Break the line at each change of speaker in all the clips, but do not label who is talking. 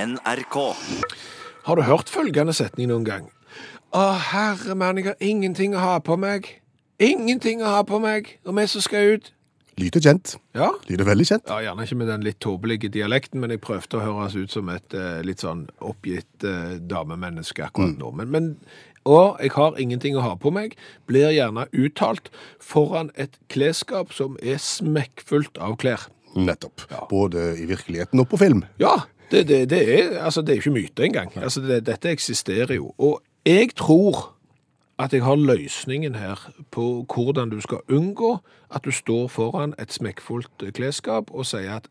NRK.
Har du hørt følgende setning noen gang? Å, herre mann, jeg har ingenting å ha på meg. Ingenting å ha på meg, og vi som skal ut.
Lyder kjent.
Ja?
Lyder veldig kjent.
ja, gjerne ikke med den litt tåpelige dialekten, men jeg prøvde å høres ut som et eh, litt sånn oppgitt eh, damemenneske akkurat nå. Men, men å, jeg har ingenting å ha på meg, blir gjerne uttalt foran et klesskap som er smekkfullt av klær.
Nettopp. Både i virkeligheten og på film.
Ja, det, det, det er altså, det er jo ikke myte engang. Altså, det, dette eksisterer jo. Og jeg tror at jeg har løsningen her på hvordan du skal unngå at du står foran et smekkfullt klesskap og sier at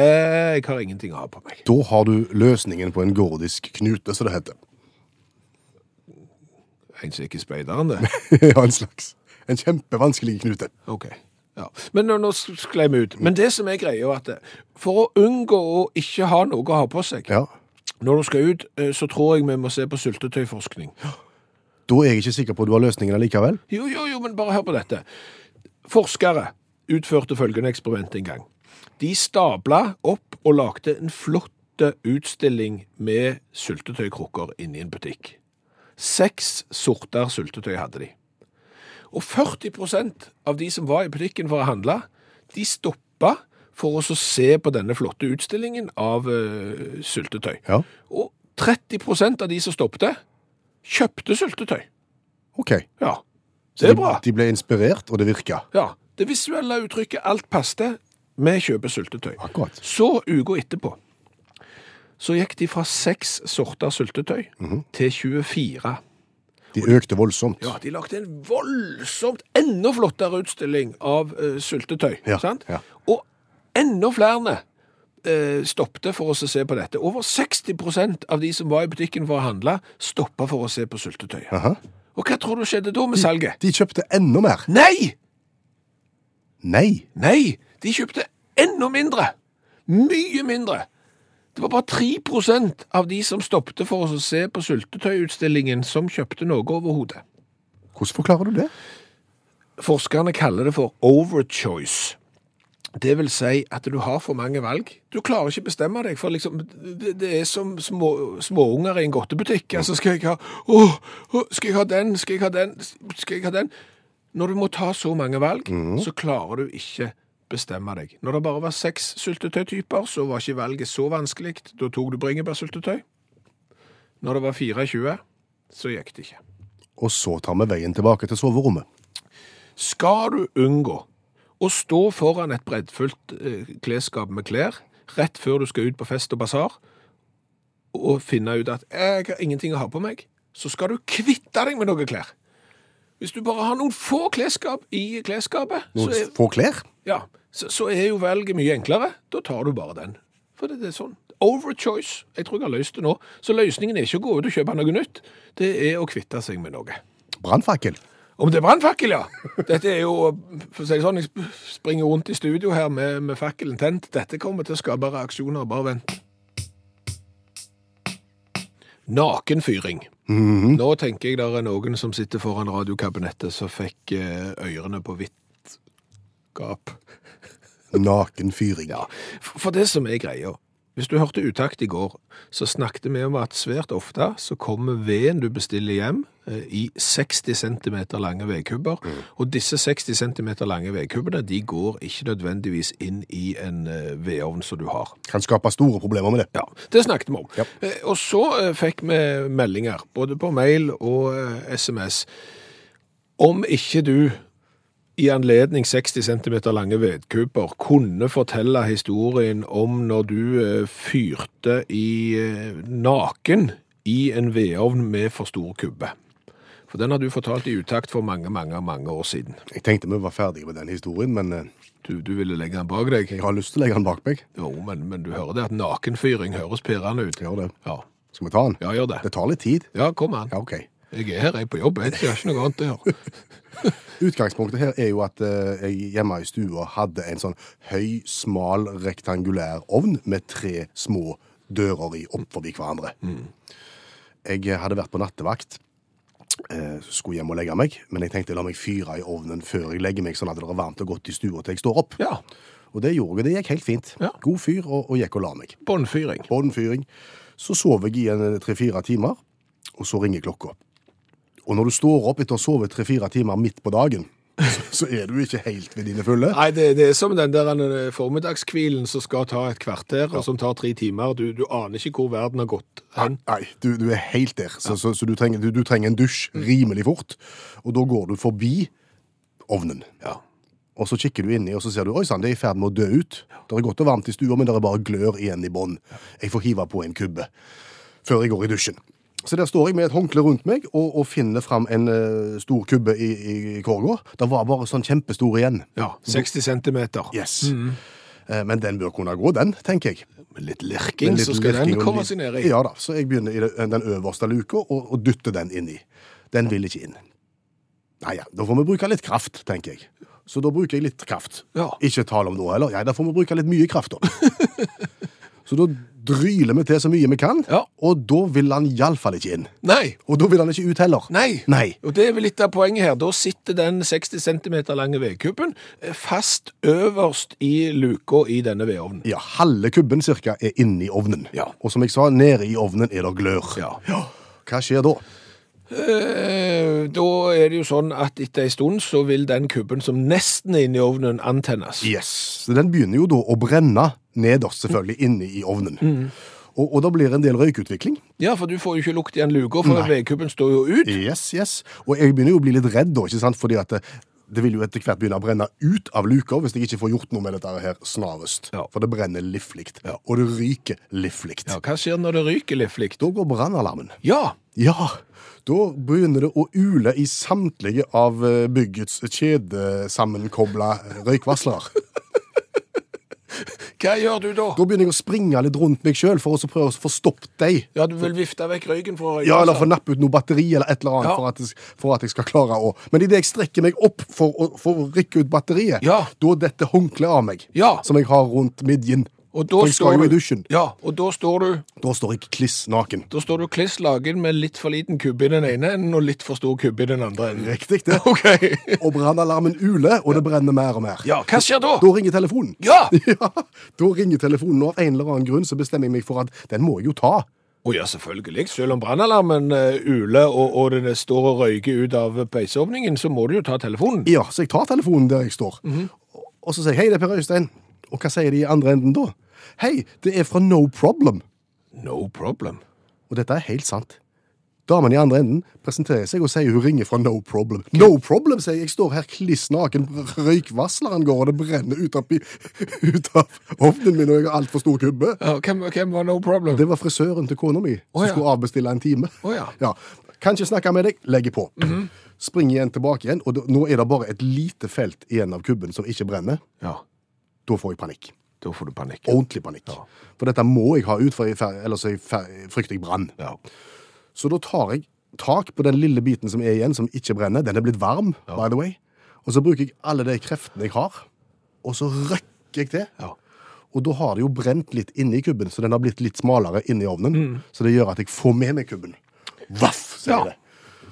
eh, jeg har ingenting å ha på meg.
Da har du løsningen på en gordisk knute, som det heter.
En som ikke speider han det.
ja, en slags. En kjempevanskelig knute.
Ok. Ja. Men nå, nå sklei vi ut. Men det som er greia, er at eh, for å unngå å ikke ha noe å ha på seg
Ja.
når du skal ut, eh, så tror jeg vi må se på syltetøyforskning.
Da er jeg ikke sikker på at du har løsningen allikevel.
Jo, jo, jo, men bare hør på dette. Forskere utførte følgende eksperiment en gang. De stabla opp og lagde en flott utstilling med syltetøykrukker inne i en butikk. Seks sorter syltetøy hadde de. Og 40 av de som var i butikken for å handle, de stoppa for å så se på denne flotte utstillingen av eh, syltetøy.
Ja.
Og 30 av de som stoppte, kjøpte syltetøy.
Ok.
Ja, det er
de,
bra.
de ble inspirert, og det virka.
Ja, det visuelle uttrykket alt passte. Vi kjøper syltetøy.
Akkurat.
Så uka etterpå så gikk de fra seks sorter syltetøy
Mhm.
til 24.
De økte voldsomt.
Ja, de lagde en voldsomt enda flottere utstilling av eh, syltetøy.
Ja,
sant?
ja.
Og enda flere uh, stoppte for oss å se på dette. Over 60 av de som var i butikken for å handle, stoppa for å se på syltetøyet.
Aha.
Og hva tror du skjedde da med salget?
De kjøpte enda mer.
Nei!
Nei.
Nei, de kjøpte enda mindre. Mye mindre. Det var bare 3 av de som stoppte for oss å se på syltetøyutstillingen, som kjøpte noe overhodet.
Hvordan forklarer du det?
Forskerne kaller det for overchoice. Det vil si at du har for mange valg. Du klarer ikke bestemme deg, for liksom, det, det er som små, småunger i en godtebutikk. Altså, skal jeg ha åh, åh, skal jeg ha den, skal jeg ha den, skal jeg ha den? Når du må ta så mange valg, så klarer du ikke bestemme deg. Når det bare var seks syltetøytyper, så var ikke valget så vanskelig. Da tok du bringebærsyltetøy. Når det var 24, så gikk det ikke.
Og så tar vi veien tilbake til soverommet.
Skal du unngå å stå foran et breddfullt eh, klesskap med klær rett før du skal ut på fest og basar, og finne ut at jeg har ingenting å ha på meg, så skal du kvitte deg med noen klær. Hvis du bare har noen få klesskap i klesskapet, så er,
Noen få klær.
ja, så, så er jo valget mye enklere. Da tar du bare den. For det, det er sånn. Overchoice. Jeg tror jeg har løst det nå. Så løsningen er ikke å gå ut og kjøpe noe nytt. Det er å kvitte seg med noe.
Brannfakkel.
Om det er brannfakkel, ja! Dette er jo for å si det sånn, Jeg sp- springer rundt i studio her med, med fakkelen tent. Dette kommer til å skape reaksjoner. Bare vent. Nakenfyring. Nå tenker jeg det er noen som sitter foran radiokabinettet som fikk eh, ørene på vidt gap.
Naken fyring.
Ja, f- for det som er greia Hvis du hørte utakt i går, så snakket vi om at svært ofte så kommer veden du bestiller hjem eh, i 60 cm lange vedkubber, og disse 60 cm lange vedkubbene de går ikke nødvendigvis inn i en eh, vedovn som du har.
Kan skape store problemer med det.
Ja, det snakket vi om.
Ja.
Eh, Og så eh, fikk vi meldinger, både på mail og eh, SMS, om ikke du i anledning 60 cm lange vedkuber kunne fortelle historien om når du eh, fyrte i eh, naken i en vedovn med for stor kubbe. For den har du fortalt i utakt for mange, mange, mange år siden.
Jeg tenkte vi var ferdige med den historien, men eh,
Du, du ville legge den bak deg.
jeg har lyst til å legge den bak meg.
Jo, men, men du hører det at nakenfyring høres pirrende ut.
Gjør det.
Ja,
Skal vi ta den?
ja gjør det.
Det tar litt tid.
Ja, kom an.
Ja, ok.
Jeg er her, jeg er på jobb. Jeg har ikke noe annet å gjøre.
Utgangspunktet her er jo at eh, jeg hjemme i stua hadde en sånn høy, smal, rektangulær ovn med tre små dører i opp forbi hverandre.
Mm.
Jeg eh, hadde vært på nattevakt, eh, skulle hjem og legge meg, men jeg tenkte la meg fyre i ovnen før jeg legger meg, sånn at det er varmt og godt i stua til jeg står opp.
Ja,
Og det gjorde jeg, det gikk helt fint.
Ja.
God fyr, og, og gikk og la meg.
Båndfyring.
Båndfyring. Så sover jeg i en eh, tre-fire timer, og så ringer klokka. Og når du står opp etter å sove tre-fire timer midt på dagen, så, så er du ikke helt ved dine fulle.
Nei, det, det er som den der eh, formiddagskvilen som skal ta et kvarter, og som tar tre timer. Du, du aner ikke hvor verden har gått hen.
Nei, du, du er helt der. Så, så, så du, trenger, du, du trenger en dusj
Mm.
rimelig fort. Og da går du forbi ovnen.
Ja.
Og så kikker du inni, og så ser du oi sann, det er i ferd med å dø ut. Det er godt og varmt i stua, men det er bare glør igjen i bånn. Jeg får hive på en kubbe før jeg går i dusjen. Så der står jeg med et håndkle rundt meg og, og finner fram en eh, stor kubbe i, i, i korga. Det var bare sånn kjempestor igjen.
Ja, 60 centimeter.
Yes. Eh, Men den bør kunne gå, den, tenker jeg.
Mm. Med litt lirking,
Med litt
så skal
lirking
den
og
komme
litt-
seg ned i.
Ja da, så jeg begynner i det- den øverste luka og, og dytter den inni. Den vil ikke inn. Nei ja, da får vi bruke litt kraft, tenker jeg. Så da bruker jeg litt kraft.
Ja.
Ikke tale om noe heller. Ja, da får vi bruke litt mye kraft, da. så da dryler vi til så mye vi kan,
Ja.
og da vil han iallfall ikke inn.
Nei!
Og da vil han ikke ut heller.
Nei.
Nei.
Og det er vel litt av poenget her. Da sitter den 60 cm lange vedkubben eh, fast øverst i luka i denne vedovnen.
Ja, halve kubben cirka er inni ovnen.
Ja.
Og som jeg sa, nede i ovnen er det glør.
Ja.
Hva skjer da?
Eh, Da er det jo sånn at etter ei stund så vil den kubben som nesten er inne i ovnen, antennes.
Yes. Så den begynner jo da å brenne nederst, selvfølgelig, inne i ovnen.
Mm.
Og, og da blir det en del røykutvikling.
Ja, for du får jo ikke lukt igjen luka, for vedkubben står jo ut.
Yes, yes. Og jeg begynner jo å bli litt redd da, ikke sant? Fordi at det, det vil jo etter hvert begynne å brenne ut av luka hvis jeg ikke får gjort noe med dette her snarest.
Ja.
For det brenner livlig. Og det ryker livlig.
Ja, Hva skjer når det ryker livlig?
Da går brannalarmen.
Ja,
Ja, da begynner det å ule i samtlige av eh, byggets kjedesammenkobla røykvarsler.
hva gjør du da?
Da begynner jeg å springe litt rundt meg sjøl for å så prøve å få stoppet deg.
Ja, du vil vifte vekk røyken fra røyken?
Ja, eller få nappe ut noe batteri eller et eller annet
Altså. Ja.
for, at jeg, for at jeg skal klare å Men idet jeg strekker meg opp for å, for å rykke ut batteriet,
Ja.
da detter håndkleet av meg.
Ja.
Som jeg har rundt midjen.
Og da
for jeg
står
skal jo
du-
i dusjen.
Ja, og da står du
Da står jeg kliss naken.
Da står du kliss lagen med litt for liten kubbe i den ene enden og litt for stor kubbe i den andre enden.
Riktig, det.
Ok.
Og brannalarmen uler, og det brenner mer og mer.
Ja, hva skjer da?
Da ringer telefonen.
Ja! Å
Ja, Da ringer telefonen, og av en eller annen grunn så bestemmer jeg meg for at den må jeg jo ta.
ja, selvfølgelig. Selv om brannalarmen eh, uler og, og den står og røyker ut av peiseåpningen, så må du jo ta telefonen.
Ja, så jeg tar telefonen der jeg står.
Mhm.
og, og så sier jeg hei, det er Per Øystein. Og hva sier de i andre enden da? Hei, det er fra No Problem.
No problem.
Og dette er helt sant. Damen i andre enden presenterer seg og sier hun ringer fra No Problem. No Problem, sier jeg. Jeg står her kliss naken, røykvarsleren går, og det brenner ut av, pi- ut av ovnen min, og jeg har altfor stor kubbe.
Ja, hvem, hvem var no problem?
Det var frisøren til kona mi som
Å, ja.
skulle avbestille en time.
Å, ja. Mhm.
Kan ikke snakke med deg, legger på. Springer igjen tilbake igjen, og da- nå er det bare et lite felt igjen av kubben som ikke brenner.
Ja,
Da får jeg panikk.
da får du panikk.
Ordentlig panikk. For dette må jeg ha ut, for jeg fer, ellers er jeg fer, frykter jeg brann.
Ja.
Så da tar jeg tak på den lille biten som er igjen, som ikke brenner. Den er blitt varm, by the way. Og så bruker jeg alle de kreftene jeg har, og så røkker jeg til.
Ja.
Og da har det jo brent litt inni kubben, så den har blitt litt smalere inni ovnen. Så det gjør at jeg får med meg kubben. Vaff, sier
Mm. Ja.
det.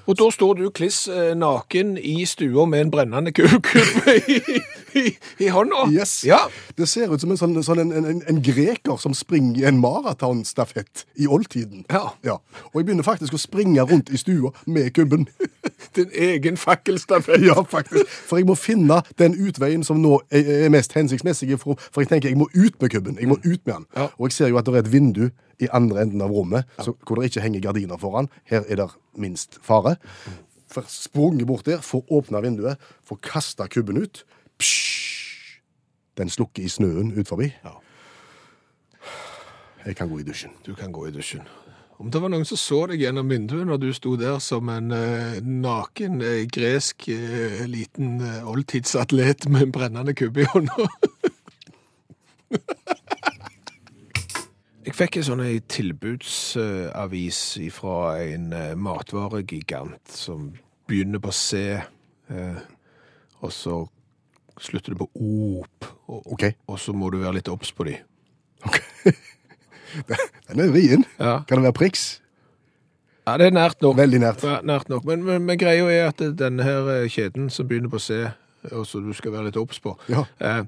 Og da står du kliss eh, naken i stua med en brennende ku- kubbe i, i, i hånda.
Yes.
Ja.
Det ser ut som en, sånn, sånn en, en, en greker som springer i en maratonstafett i oldtiden.
Ja.
Og jeg begynner faktisk å springe rundt i stua med kubben.
Din egen fakkelstafett.
Ja, faktisk. For jeg må finne den utveien som nå er er mest hensiktsmessig. For, for jeg tenker jeg må ut med kubben. Jeg må ut med den.
Mm. Ja.
Og jeg ser jo at det er et vindu i andre enden av rommet så, hvor det ikke henger gardiner foran. Her er det minst fare. For sprunget bort der, får åpna vinduet, får kasta kubben ut. Psj! Den slukker i snøen ut forbi.
Ja.
Jeg kan gå i dusjen.
Du kan gå i dusjen. Om det var noen som så deg gjennom vinduet når du sto der som en eh, naken eh, gresk eh, liten eh, oldtidsatlet med en brennende kubbe i hånda. Jeg fikk en sånn ei tilbudsavis fra en eh, matvaregigant som begynner på C, eh, og så slutter det på OP, og,
OK.
og så må du være litt obs på de.
Den er vrien.
Ja.
Kan det være priks?
Ja, det er nært nok.
Veldig nært.
Ja, nært nok. Men, men, men greia er at denne her eh, kjeden som begynner på C, og som du skal være litt obs på,
Ja.
eh,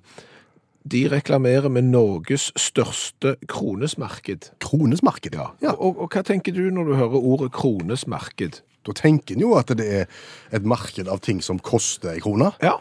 De reklamerer med Norges største kronesmarked.
Kronesmarked, ja. ja.
Og, og, og hva tenker du når du hører ordet kronesmarked?
Da tenker en jo at det er et marked av ting som koster ei krone.
Ja.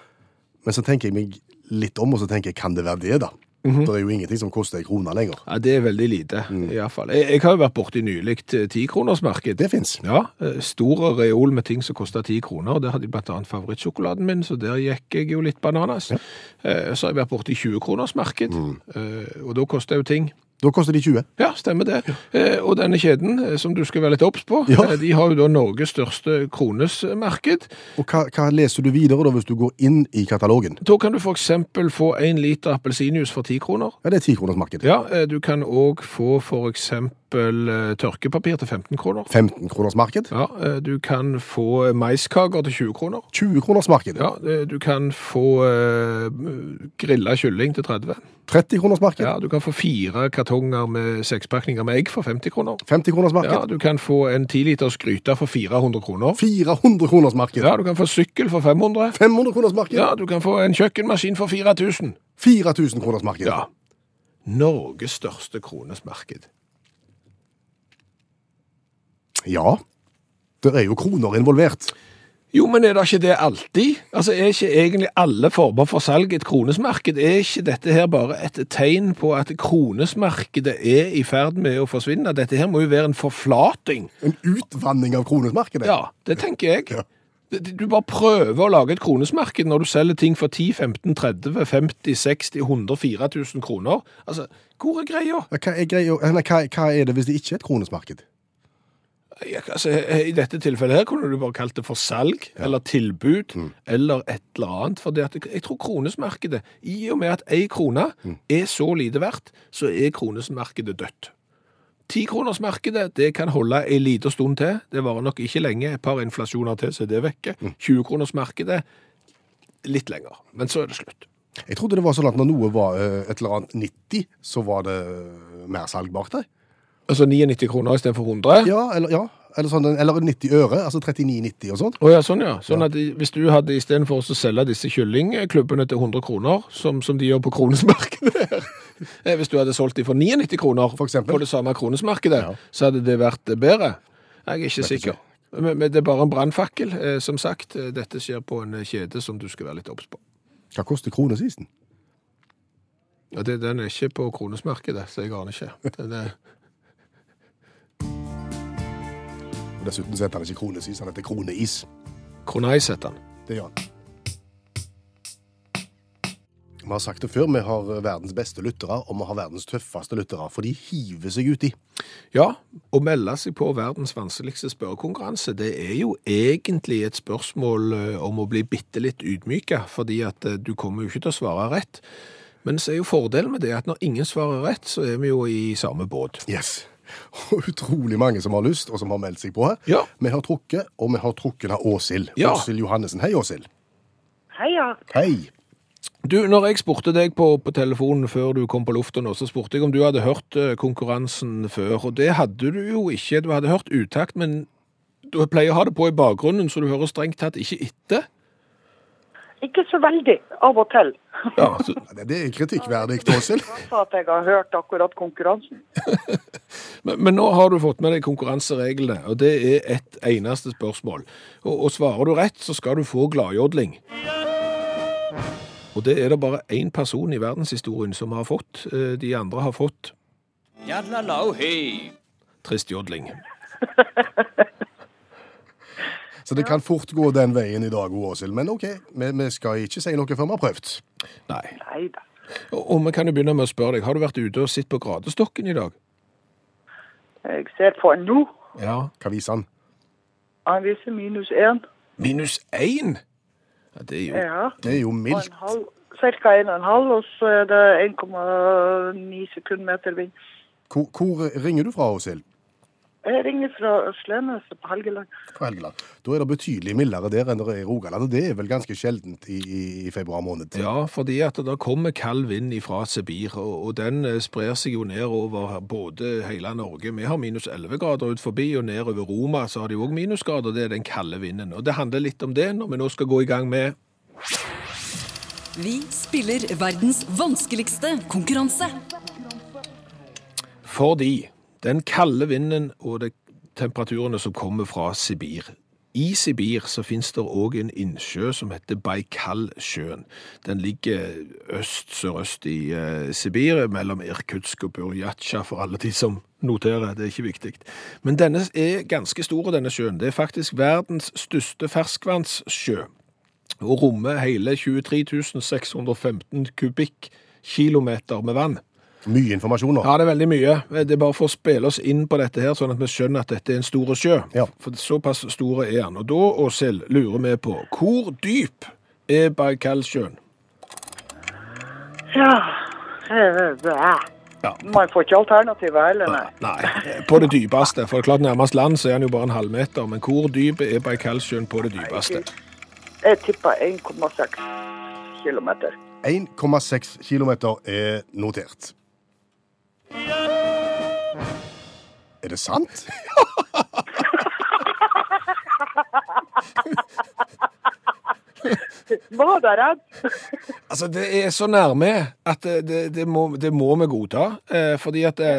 Men så tenker jeg meg litt om, og så tenker jeg, kan det være det, da?
Mhm.
Det er jo ingenting som koster ei krone lenger.
ja det er veldig lite, i hvert fall. Jeg, jeg har jo vært borti nylig eh, tikronersmarked.
Det fins.
Mm. Ja, eh, stor reol med ting som koster 10 kroner, og der hadde jeg blant annet favorittsjokoladen min, så der gikk jeg jo litt bananas. Eh, Så har jeg vært borte i 20 kroners marked, eh, og da koster jo ting.
Da koster de 20.
Ja, stemmer det. Eh, Og denne kjeden, eh, som du skal være litt obs på,
Ja.
eh, de har jo da Norges største eh, kronesmarked.
Og hva, hva leser du videre da hvis du går inn i katalogen?
Da kan du for eksempel få en liter appelsinjuice for 10 kroner.
Ja, Det er tikronersmarked.
Ja, eh, du kan også få for eksempel eh, tørkepapir til 15 kroner.
15-kronersmarked.
Ja, eh, du kan få maiskaker til 20 kroner.
20-kronersmarked.
Ja, eh, du kan få eh, grilla kylling til 30.
30-kronersmarked.
Ja, du kan få fire kartonger med sekspakninger med egg for 50 kroner.
50-kronersmarked.
Ja, du kan få en 10 liters gryte for 400 kroner.
400-kronersmarked.
Ja, du kan få sykkel for 500.
500-kronersmarked.
Ja, du kan få en kjøkkenmaskin for 4000.
4000-kronersmarked.
Ja. Norges største kronesmarked.
ja. Det er jo kroner involvert.
Jo, men er det ikke det alltid? Altså, Er ikke egentlig alle former for salg et kronesmarked? Er ikke dette her bare et tegn på at kronesmarkedet er i ferd med å forsvinne? Dette her må jo være en forflating.
En utvanning av kronesmarkedet.
Ja, det tenker jeg.
Ja.
Du bare prøver å lage et kronesmarked når du selger ting for 10, 15, 30, 50, 60, 100, 4000 kroner. Altså, hvor er greia?
Hva er, greia, eller hva, hva er det hvis det ikke er et kronesmarked?
Ja, altså, I dette tilfellet her kunne du bare kalt det for salg, eller tilbud, eller et eller annet. For det at, jeg tror kronesmarkedet, i og med at ei krone er så lite verdt, så er kronesmarkedet dødt. Tikronersmarkedet det kan holde ei lita stund til. Det varer nok ikke lenge. Et par inflasjoner til, så er det vekke. 20-kronersmarkedet litt lenger. Men så er det slutt.
Jeg trodde det var sånn at når noe var eh, et eller annet 90, så var det eh, mer salgbart der.
Altså 99 kroner istedenfor 100?
Ja, eller, ja. Eller, sånn, eller 90 øre, altså 39,90 og sånt.
Å ja, sånn ja. Sånn at i- hvis du hadde istedenfor å selge disse kyllingklubbene til 100 kroner, som, som de gjør på kronesmarkedet her, eh, hvis du hadde solgt de for 99 kroner
For eksempel.
på det samme kronesmarkedet,
Ja.
så hadde det vært eh, bedre. Jeg er ikke sikker. Men, men det er bare en brannfakkel, eh, som sagt. Eh, Dette skjer på en eh, kjede som du skal være litt obs på.
Hva koster kronesisen?
Ja, det, den er ikke på kronesmarkedet, så jeg aner ikke. Den er...
Dessuten så heter han ikke kronesis, han heter kroneis.
Kroneis heter den.
Det gjør han. Vi har sagt det før, vi har verdens beste lyttere, og vi har verdens tøffeste lyttere, for de hiver seg uti.
Ja, å melde seg på verdens vanskeligste spørrekonkurranse, det er jo egentlig et spørsmål eh, om å bli bitte litt ydmyka, fordi at eh, du kommer jo ikke til å svare rett. Men så er jo fordelen med det at når ingen svarer rett, så er vi jo i samme båt.
Yes. Og utrolig mange som har lyst, og som har meldt seg på her.
Ja.
Vi har trukket, og vi har trukket av Åshild.
Ja.
Åshild Johannessen. Hei, Åshild.
Heia.
Hei.
Du, når jeg spurte deg på, på telefonen før du kom på lufta nå, så spurte jeg om du hadde hørt eh, konkurransen før, og det hadde du jo ikke. Du hadde hørt utakt, men du pleier å ha det på i bakgrunnen, så du hører strengt tatt ikke etter.
Ikke så veldig, av og til.
Ja, så,
Ja, Det er kritikkverdig, Åshild.
Jeg sa at jeg har hørt akkurat konkurransen.
Men, men nå har du fått med deg konkurransereglene, og det er ett eneste spørsmål. Og, og svarer du rett, så skal du få gladjodling. Og det er det bare én person i verdenshistorien som har fått. Eh, De andre har fått
Yadlalau hey.
trist jodling.
Så det kan fort gå den veien i dag, Åshild. Men OK, vi, vi skal ikke si noe før vi har prøvd.
Nei.
Nei da.
Og, og vi kan jo begynne med å spørre deg, har du vært ute og sett på gradestokken i dag?
Jeg ser på en nå.
Ja.
Hva viser han?
Han viser minus én.
Minus én? Ja, det er jo
Ja.
Det er jo
Og
mildt.
en halv. Cirka en og en halv, og så er det 1,9 sekundmeter vind.
Hvor, hvor ringer du fra, Åshild?
Jeg ringer fra Sleneset på Helgeland.
på Helgeland. Da er det betydelig mildere der enn det er i Rogaland, og det er vel ganske sjeldent i, i, i februar måned.
Ja, fordi at det kommer kald vind ifra Sibir, og, og den eh, sprer seg jo nedover her- både hele Norge. Vi har minus 11 grader ut forbi, og nedover Roma så har de òg minusgrader. Det er den kalde vinden. Og det handler litt om det når vi nå skal gå i gang med
Vi spiller verdens vanskeligste konkurranse.
Fordi den kalde vinden og de temperaturene som kommer fra Sibir. I Sibir så finnes det òg en innsjø som heter Baikalsjøen. Den ligger øst-sørøst i eh, Sibir, mellom Irkutsk og Burjatsja, for alle de som noterer. Det er ikke viktig. Men denne er ganske stor, denne sjøen. Det er faktisk verdens største ferskvannssjø. Og rommer hele 23 615 kubikkilometer med vann.
Mye informasjon nå.
Ja, det er veldig mye. Det er bare for å spille oss inn på dette her, sånn at vi skjønner at dette er en stor sjø.
Ja.
For såpass store er den. Og da, Åshild, lurer vi på hvor dyp er Baikalsjøen?
Ja. eh, bæ.
Ja.
Man får ikke alternativet, eller nei?
Nei, på det dypeste. For det er klart, nærmest land så er den jo bare en halvmeter. Men hvor dyp er Baikalsjøen på det dypeste?
Jeg tipper 1,6 kilometer.
1,6 km er notert. Er det sant?
Var det redd?
Altså, det er så nærme at det, det, det, må, det må vi godta. Eh, fordi at det,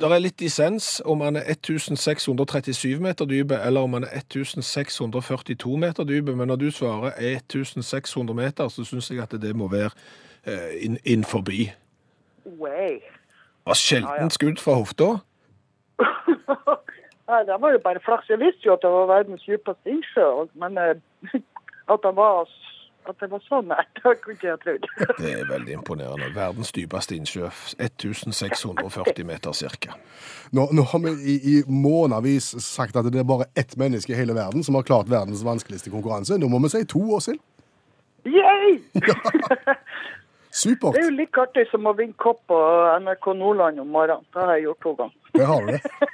der er litt dissens om han er 1637 meter dype eller om han er 1642 meter dype. Men når du svarer 1600 meter, så syns jeg at det må være eh, inn, inn forbi.
Way.
Og sjelden skudd fra hofta.
Nei, det var jo bare flaks. Jeg visste jo at det var verdens dypeste innsjø, og- men eh, at det var, s- at det var så nært, det kunne ikke jeg trodd.
Det er veldig imponerende. Verdens dypeste innsjø. 1640 meter cirka.
Nå, nå har vi i, i månedvis sagt at det er bare ett menneske i hele verden som har klart verdens vanskeligste konkurranse. Nå må vi si to, Åshild.
Yay! Det
Supert.
er jo like artig som å vinne kopp på NRK Nordland om morgenen. Det har jeg gjort to ganger.
Der har du det.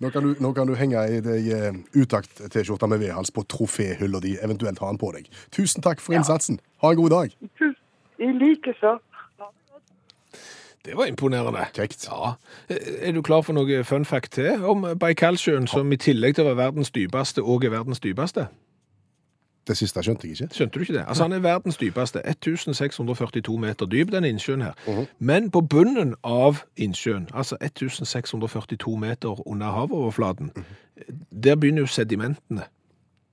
Nå kan du, nå kan du henge i deg eh, utakt-T-skjorta med vedhals på troféhylla di, eventuelt ha den på deg. Tusen takk for innsatsen. Ha en god dag.
I like så.
Det var imponerende.
Kjekt.
Ja. Eh, Er du klar for noe fun fact til om Baikalsjøen, som i tillegg til å være verdens dypeste, òg er verdens dypeste?
Det siste skjønte jeg ikke.
Skjønte du ikke det? Altså, Han er verdens dypeste. 1642 meter dyp, den innsjøen her. Men på bunnen av innsjøen, altså 1642 meter under havoverflaten, der begynner jo sedimentene.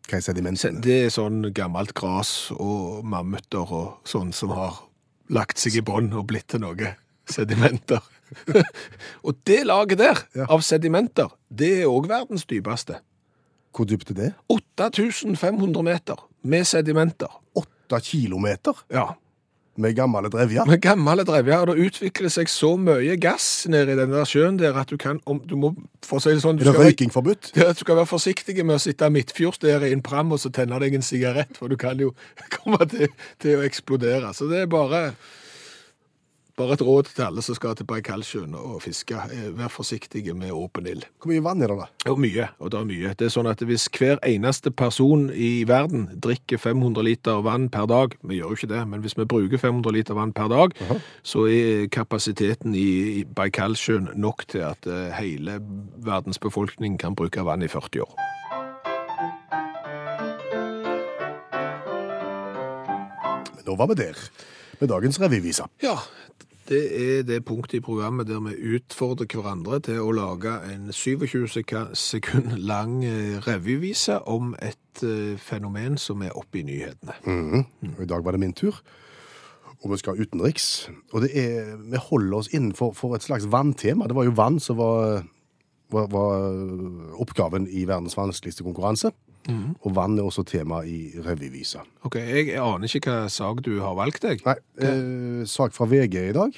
Hva er
Se-
sedimentene?
Det er sånn gammelt gras og mammuter og sånn som har lagt seg i bånd og blitt til noe. Sedimenter. og det laget der,
Ja.
av sedimenter, det er òg verdens dypeste.
Hvor dypt er det?
8500 meter med sedimenter.
Åtte kilometer
Ja.
med gamle drevjer.
Med gamle drevjer. Det utvikler seg så mye gass nede i den der sjøen der at du kan om, Du må, for å si det sånn du
Er det
skal-
røyking forbudt?
Ja, du skal være forsiktig med å sitte midtfjords der i en pram og så tenne deg en sigarett, for du kan jo komme til, til å eksplodere. Så det er bare, bare et råd til alle som skal til Baikalsjøen og fiske. Eh, Vær forsiktige med åpen ild.
Hvor mye vann er det da?
Og mye, og det er mye. Det er sånn at hvis hver eneste person i verden drikker 500 liter vann per dag, vi gjør jo ikke det, men hvis vi bruker 500 liter vann per dag, så er kapasiteten i i Baikalsjøen nok til at eh, hele verdens befolkning kan bruke vann i 40 år.
Men nå var vi der. Med dagens revyvise.
Ja, det er det punktet i programmet der vi utfordrer hverandre til å lage en 27 seka- sekund lang eh, revyvise om et eh, fenomen som er oppe i nyhetene.
Og I dag var det min tur. Og vi skal utenriks. Og det er, vi holder oss innenfor for et slags vanntema. Det var jo vann som var, var, var oppgaven i verdens vanskeligste konkurranse. Og vann er også tema i revyvisa.
Ok, jeg aner ikke hva sag du har valgt, jeg.
Nei, eh, sak fra VG i dag.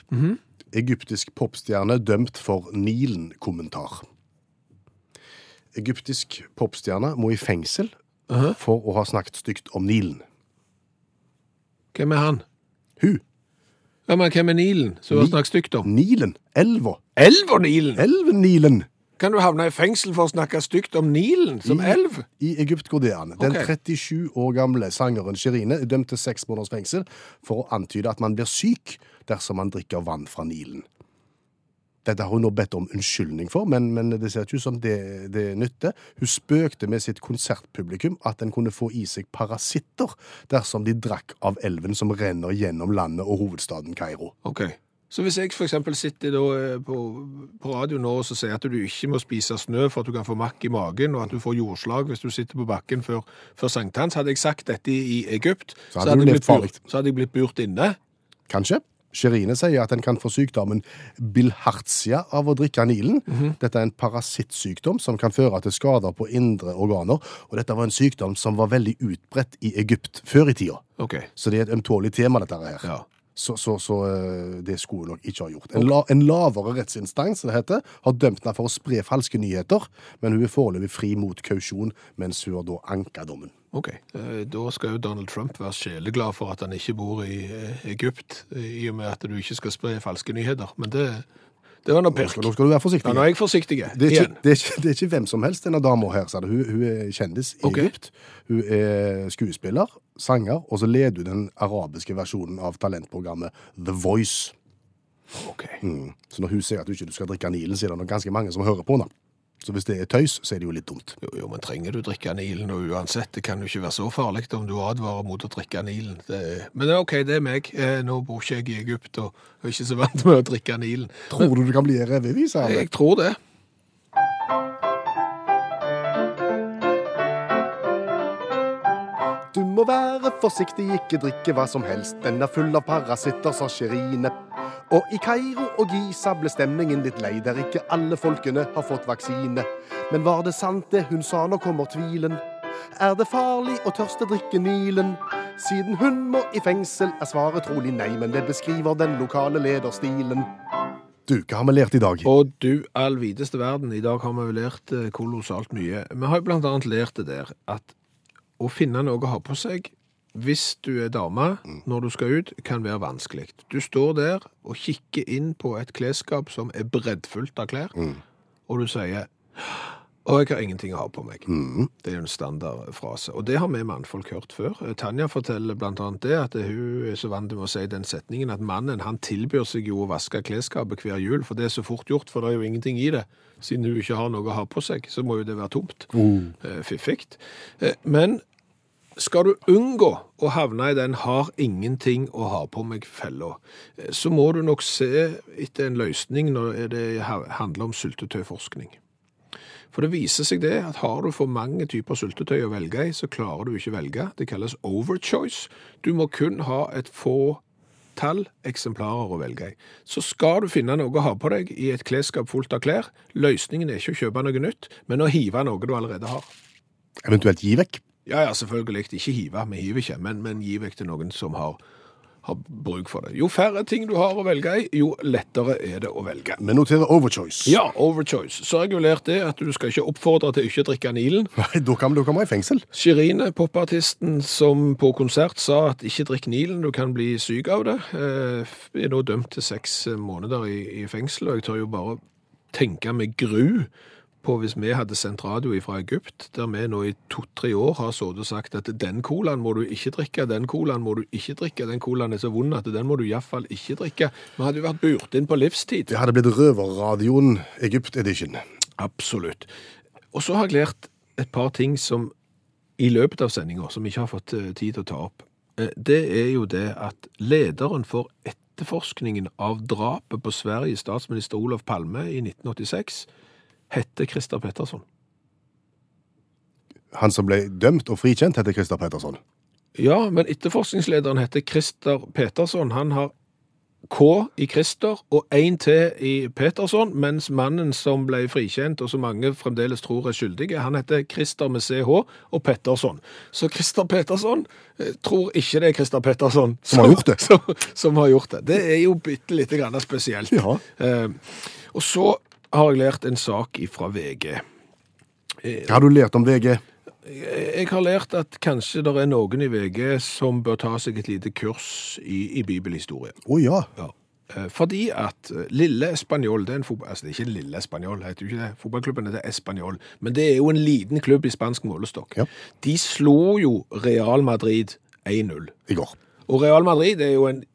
Egyptisk popstjerne dømt for Nilen-kommentar. Egyptisk popstjerne må i fengsel for å ha snakket stygt om Nilen.
Hvem er han?
Hun.
Ja, men hvem er Nilen, som du har
Ni-
snakket stygt om?
Nilen. Elva.
Elv og Nilen!
Elven Nilen.
Kan du havne i fengsel for å snakke stygt om Nilen som
I-
elv?
I Egypt går det an. Den
Ok.
37 år gamle sangeren Shirine er dømt til seks måneders fengsel for å antyde at man blir syk dersom man drikker vann fra Nilen. Dette har hun nå bedt om unnskyldning for, men, men det ser ikke ut som det, det nytter. Hun spøkte med sitt konsertpublikum at en kunne få i seg parasitter dersom de drakk av elven som renner gjennom landet og hovedstaden Kairo.
Ok. Så hvis jeg for eksempel sitter da eh, på, på radio nå og så sier at du ikke må spise snø for at du kan få makk i magen, og at du får jordslag hvis du sitter på bakken før, før sankthans, hadde jeg sagt dette i Egypt,
Så hadde du
jeg
levd
blitt bur-
farlig.
så hadde jeg blitt burt inne.
Kanskje? Sherine sier at en kan få sykdommen bilhartsia av å drikke Nilen.
Mhm.
Dette er en parasittsykdom som kan føre til skader på indre organer. Og dette var en sykdom som var veldig utbredt i Egypt før i tida.
Ok.
Så det er et ømtålig tema, dette her.
Ja.
Så, så, så eh, det skulle hun nok ikke ha gjort. En, la, en lavere rettsinstans det heter, har dømt henne for å spre falske nyheter, men hun er foreløpig fri mot kausjon, mens hun har da anka dommen.
Ok. Eh, Da skal jo Donald Trump være sjeleglad for at han ikke bor i eh, Egypt, i og med at du ikke skal spre falske nyheter. Men det, det var noe
Nå
pirk.
skal, nå skal du være forsiktig.
Ja, nå er jeg forsiktig
Det er, ikke,
igjen.
det, er ikke, det er ikke hvem som helst, denne dama her. sa det. Hun, hun er kjendis i
Ok.
Egypt. Hun er skuespiller, sanger, og så leder hun den arabiske versjonen av talentprogrammet The Voice.
Ok.
Mm. Så når hun sier at du ikke skal drikke Nilen, så er det nok ganske mange som hører på henne. Så hvis det er tøys, så er det jo litt dumt.
Jo, jo, men trenger du drikke Nilen, og uansett, det kan jo ikke være så farlig om du advarer mot å drikke Nilen. Det, er- men det er ok, det er meg. Eh, Nå bor ikke jeg i Egypt, og er ikke så vant med å drikke Nilen.
Tror du du kan bli revyvis av det?
Jeg tror det.
Du må være forsiktig, ikke drikke hva som helst. Den er full av parasitter, sa Sherine. Og i Kairo og Giza ble stemningen litt lei, der ikke alle folkene har fått vaksine. Men var det sant det hun sa, nå kommer tvilen. Er det farlig å tørste drikke Nilen? Siden hun må i fengsel, er svaret trolig nei, men det beskriver den lokale lederstilen. Du, hva har vi lært i dag?
Og du all videste verden, i dag har vi jo lært eh, kolossalt mye. Vi har jo blant annet lært det der at å finne noe å ha på seg hvis du er dame når du skal ut, kan være vanskelig. Du står der og kikker inn på et klesskap som er breddfullt av klær, og du sier og jeg har ingenting å ha på meg. Det er jo en standardfrase. Og det har vi mannfolk hørt før. Eh, Tanja forteller blant annet det, at eh, hun er så vant med å si den setningen at mannen han tilbyr seg jo å vaske klesskapet hver jul, for det er så fort gjort, for det er jo ingenting i det. Siden hun ikke har noe å ha på seg, så må jo det være tomt. Eh, Fiffig. Eh, Men skal du unngå å havne i den har ingenting å ha på meg-fella, eh, så må du nok se etter en løsning når det handler om syltetøyforskning. For det viser seg det at har du for mange typer syltetøy å velge i, så klarer du ikke velge. Det kalles overchoice. Du må kun ha et få tall eksemplarer å velge i. Så skal du finne noe å ha på deg i et klesskap fullt av klær. Løsningen er ikke å kjøpe noe nytt, men å hive noe du allerede har.
Eventuelt gi vekk.
Ja, ja, selvfølgelig. Ikke hive, vi hiver ikke, men, men gi vekk til noen som har, har bruk for det. Jo færre ting du har å velge i, jo lettere er det å velge.
Vi noterer overchoice.
Ja, overchoice. Så har jeg jo lært det at du skal ikke oppfordre til ikke å drikke Nilen.
Nei, da kan da kan vi i fengsel.
Shirine, popartisten som på konsert sa at ikke drikk Nilen, du kan bli syk av det, eh, er nå dømt til seks eh, måneder i, i fengsel, og jeg tør jo bare tenke med gru på hvis vi hadde sendt radio fra Egypt, der vi nå i to-tre år har så og sagt at den colaen må du ikke drikke, den colaen må du ikke drikke, den colaen er så vond at den må du iallfall ikke drikke. Vi hadde jo vært burt inn på livstid.
Det hadde blitt Røverradioen Egypt Edition.
Absolutt. Og så har jeg lært et par ting som i løpet av sendinga som jeg ikke har fått eh, tid til å ta opp. Eh, Det er jo det at lederen for etterforskningen av drapet på Sveriges statsminister Olof Palme i 1986 heter Christer Pettersson.
Han som ble dømt og frikjent, heter Christer Petterson.
Ja, men etterforskningslederen heter Christer Petersson. Han har K i Christer og én T i Petersson, mens mannen som ble frikjent, og som mange fremdeles tror er skyldige, han heter Christer med CH og Pettersson. Så Christer Petersson eh, tror ikke det er Christer Petersson
Som har gjort det.
Som, som har gjort det. Det er jo bitte lite grann spesielt.
Ja.
Eh, og så har jeg lært en sak ifra VG.
Hva Eh, har du lært om VG?
Eh, Jeg har lært at kanskje det er noen i VG som bør ta seg et lite kurs i, i bibelhistorie.
Å ja.
Ja. Eh, Fordi at eh, Lille Spanjol, det er en fotball... Altså, det er ikke Lille Spanjol, heter jo ikke det. Fotballklubben heter Español. Men det er jo en liten klubb i spansk målestokk.
Ja.
De slo jo Real Madrid 1-0.
I går.
Og Real Madrid er jo en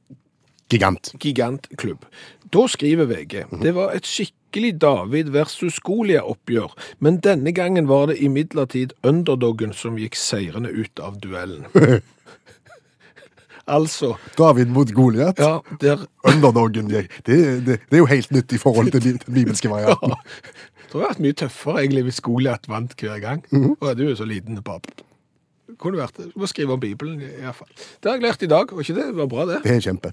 Gigant.
gigantklubb. Da skriver VG det var et skikkelig David versus Golia-oppgjør, men denne gangen var det imidlertid underdoggen som gikk seirende ut av duellen. altså
David mot Goliat.
Ja, der
Underdogen. Det, det, det, det er jo helt nytt i forhold til bi- den bibelske
ja.
varianten.
Det hadde vært mye tøffere egentlig hvis Goliat vant hver gang. Og du er jo så liten. Bare. Kunne vært, Du må skrive om Bibelen, iallfall. Det har jeg lært i dag, og ikke det? Det var bra, det.
Det er kjempe.